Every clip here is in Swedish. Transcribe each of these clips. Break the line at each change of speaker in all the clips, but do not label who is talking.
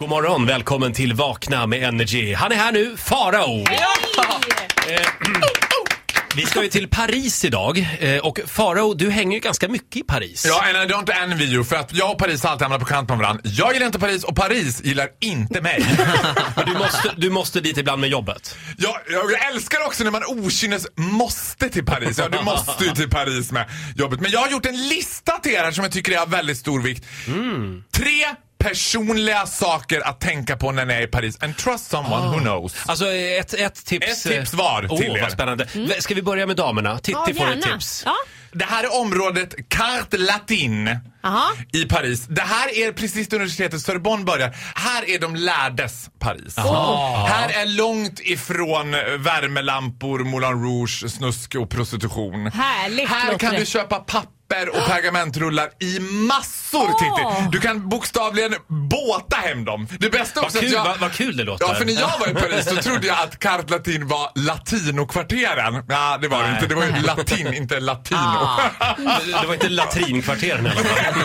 God morgon, välkommen till Vakna med Energy. Han är här nu, Farao. Vi ska ju till Paris idag eh, och Farao, du hänger ju ganska mycket i Paris.
Ja, and I don't envy you. För att jag och Paris har alltid hamnat på kant med varandra. Jag gillar inte Paris och Paris gillar inte mig.
Men Du, måste, du måste dit ibland med jobbet.
jag, jag, jag älskar också när man okynnes måste till Paris. Ja, du måste ju till Paris med jobbet. Men jag har gjort en lista till er här som jag tycker är av väldigt stor vikt. Tre personliga saker att tänka på när ni är i Paris. And trust someone who knows.
Alltså eh, ett, ett tips...
Ett tips
eh,
var
Åh,
till er.
vad spännande. Ska vi börja med damerna? Titti får ett tips.
Mm. Ja.
Det här är området Carte Latine
Aha.
i Paris. Det här är precis där universitetet Sorbonne börjar. Här är de lärdes Paris. Här är långt ifrån eh, värmelampor, Moulin Rouge, snusk och prostitution.
Härligt,
Här kan
Lotte.
du köpa papper och pergamentrullar i massor Titti. Du kan bokstavligen båta hem dem. Det bästa
Vad
också
kul,
att jag...
vad, vad kul det låter.
Alltså, Ja, för när jag var i Paris så trodde jag att Carte Latin var latinokvarteren. Ja, det var det
Nej.
inte. Det var ju latin, inte latino.
Det- Det var inte latrinkvarteren i alla fall.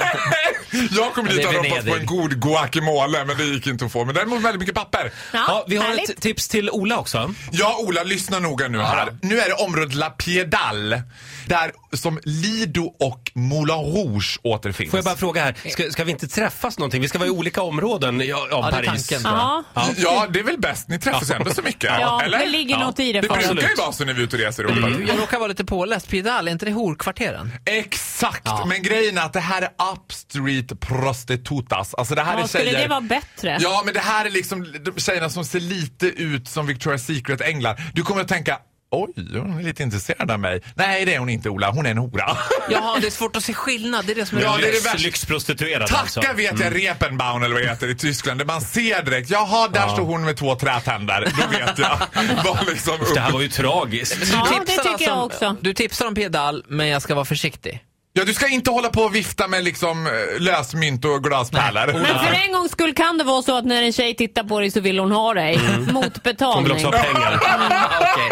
Jag kom
Ja, det
dit
är
och hoppats på
Venedig.
en god guacamole, men det gick inte att få. Men däremot väldigt mycket papper.
Ja,
Ja, vi har
härligt.
ett tips till Ola också.
Ja, Ola, lyssna noga nu här.
Ja.
Nu är det området La Piedale, där som Lido och Moulin Rouge återfinns.
Får jag bara fråga här, ska, ska vi inte träffas någonting? Vi ska vara i olika områden i- av
det är
Paris.
tanken, tror jag.
Ja.
Ja.
Ja, det är väl bäst. Ni träffas ändå så mycket,
Ja,
eller?
det ligger
Ja.
något i det. Mm.
Det
Farao.
brukar ju
Absolut.
vara så när vi är ute och reser i Europa.
Jag råkar vara lite påläst. Piedal, är inte det horkvarteren?
Exakt,
Ja.
men grejen är att det här är upstreet prostitutas. Alltså det här
Ja,
är
skulle
tjejer...
det vara bättre?
Ja, men det här är liksom de tjejerna som ser lite ut som Victoria's Secret-änglar. Du kommer att tänka Oj, hon är lite intresserad av mig. Nej, det är hon inte Ola. Hon är en hora.
Jaha, det är svårt att se skillnad. Det är det som är
Ja, det är det
Lyx-
värsta.
Lyxprostituerad
Tacka
alltså.
vet jag Reepenbaum eller vad det heter i Tyskland. Där man ser direkt. Jaha, där står hon med två trätänder. Då vet jag. Vad liksom
Det här
upp.
var ju tragiskt.
Ja,
tipsar
det tycker
alltså
jag
om-
också.
Du tipsar om Piedal, men jag ska vara försiktig.
Ja, du ska inte hålla på och vifta med liksom eh, lösmynt och glaspärlor.
Men för en gångs skull kan det vara så att när en tjej tittar på dig så vill hon ha dig. Mot
Hon vill
betalning.
också ha pengar.
Okej.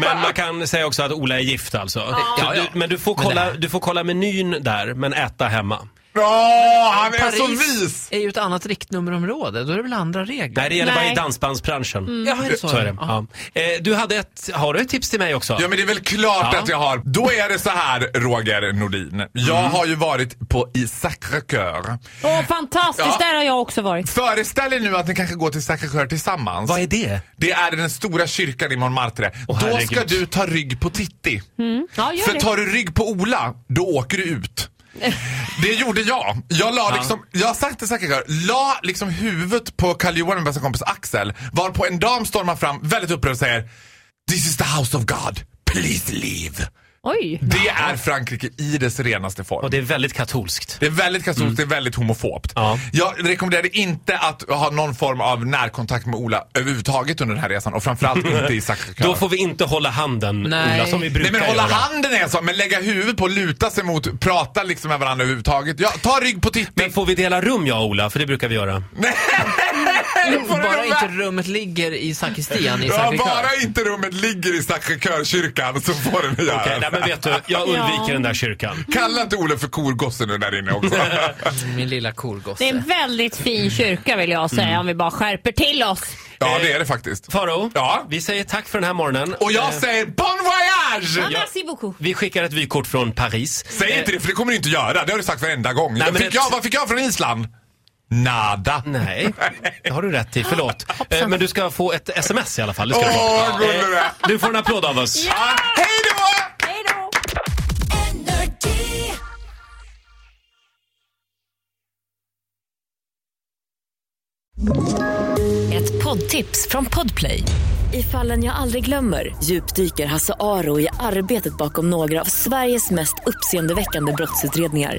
Men man kan säga också att Ola är gift alltså.
Ja, ja.
Du, men du får,
Men det
kolla,
här-
du får kolla menyn där, men äta hemma.
Ja, han är så
Paris
vis!
är ju ett annat riktnummerområde. Då är det väl andra regler?
Nej, det gäller bara i
Nej.
dansbandsbranschen.
Ja, är det så?
Så är det.
Mm. Ja.
Ja. Eh, Du hade ett, har du ett tips till mig också?
Ja men det är väl klart
Ja.
att jag har. Då är det så här Roger Nordin. Jag
Mm.
har ju varit på i Sacré-Cœur.
Åh, fantastiskt.
Ja.
Där har jag också varit.
Föreställ er nu att ni kanske går till Sacré-Cœur tillsammans.
Vad är det?
Det är den stora kyrkan i Montmartre.
Åh,
då
herregud.
ska du ta rygg på Titti.
Ja, Mm. gör
För
det.
tar du rygg på Ola, då åker du ut. Det gjorde jag. Jag la liksom, jag satt i säkerhet, la liksom huvudet på Karl Johan, min bästa kompis Axel, varpå en dam stormar fram väldigt upprörd och säger This is the house of God, please leave.
Oj.
Det är Frankrike i dess renaste form.
Och det är väldigt katolskt.
Det är väldigt katolskt, det är väldigt homofobt.
Ja.
Jag rekommenderade inte att ha någon form av närkontakt med Ola överhuvudtaget under den här resan och framförallt inte i Sacré-Cœur.
Då får vi inte hålla handen,
Nej.
Ola, som vi brukar
Nej men hålla
göra.
handen är så, men lägga huvudet på, luta sig mot, prata liksom med varandra överhuvudtaget. Ja, ta rygg på
Men
tittning.
får vi dela rum jag och Ola? För det brukar vi göra.
Bara inte rummet ligger i sakristian i
Ja, bara
Sacré-Cœur.
inte rummet ligger i Sacré-Cœur-kyrkan så får du göra
Okej,
det.
nej, men vet du, jag undviker
Ja.
den där kyrkan.
Kalla inte Ola för korgosse nu där inne också.
Min lilla
Det är en
korgosse.
väldigt fin kyrka vill jag säga om vi bara skärper till oss.
ja, det är det faktiskt.
Faro,
Ja.
vi säger tack för den här morgonen. Eh,
Och jag säger bon voyage!
Merci beaucoup.
Vi skickar ett vykort från Paris.
Säg inte det för det kommer du inte göra. Det har du sagt varenda gång.
Nej,
jag
men
fick
det-
jag, vad fick jag från Island? Nada.
Nej, det har du rätt i. Förlåt. Eh, Men du ska få ett sms i alla fall. Det ska
Åh,
du få. Eh,
vad gullig du är.
Du får en applåd av oss.
Ja, Hej då!
Hej då.
Ett poddtips från Podplay. I fallen jag aldrig glömmer djupdyker Hasse Aro i arbetet bakom några av Sveriges mest uppseendeväckande brottsutredningar.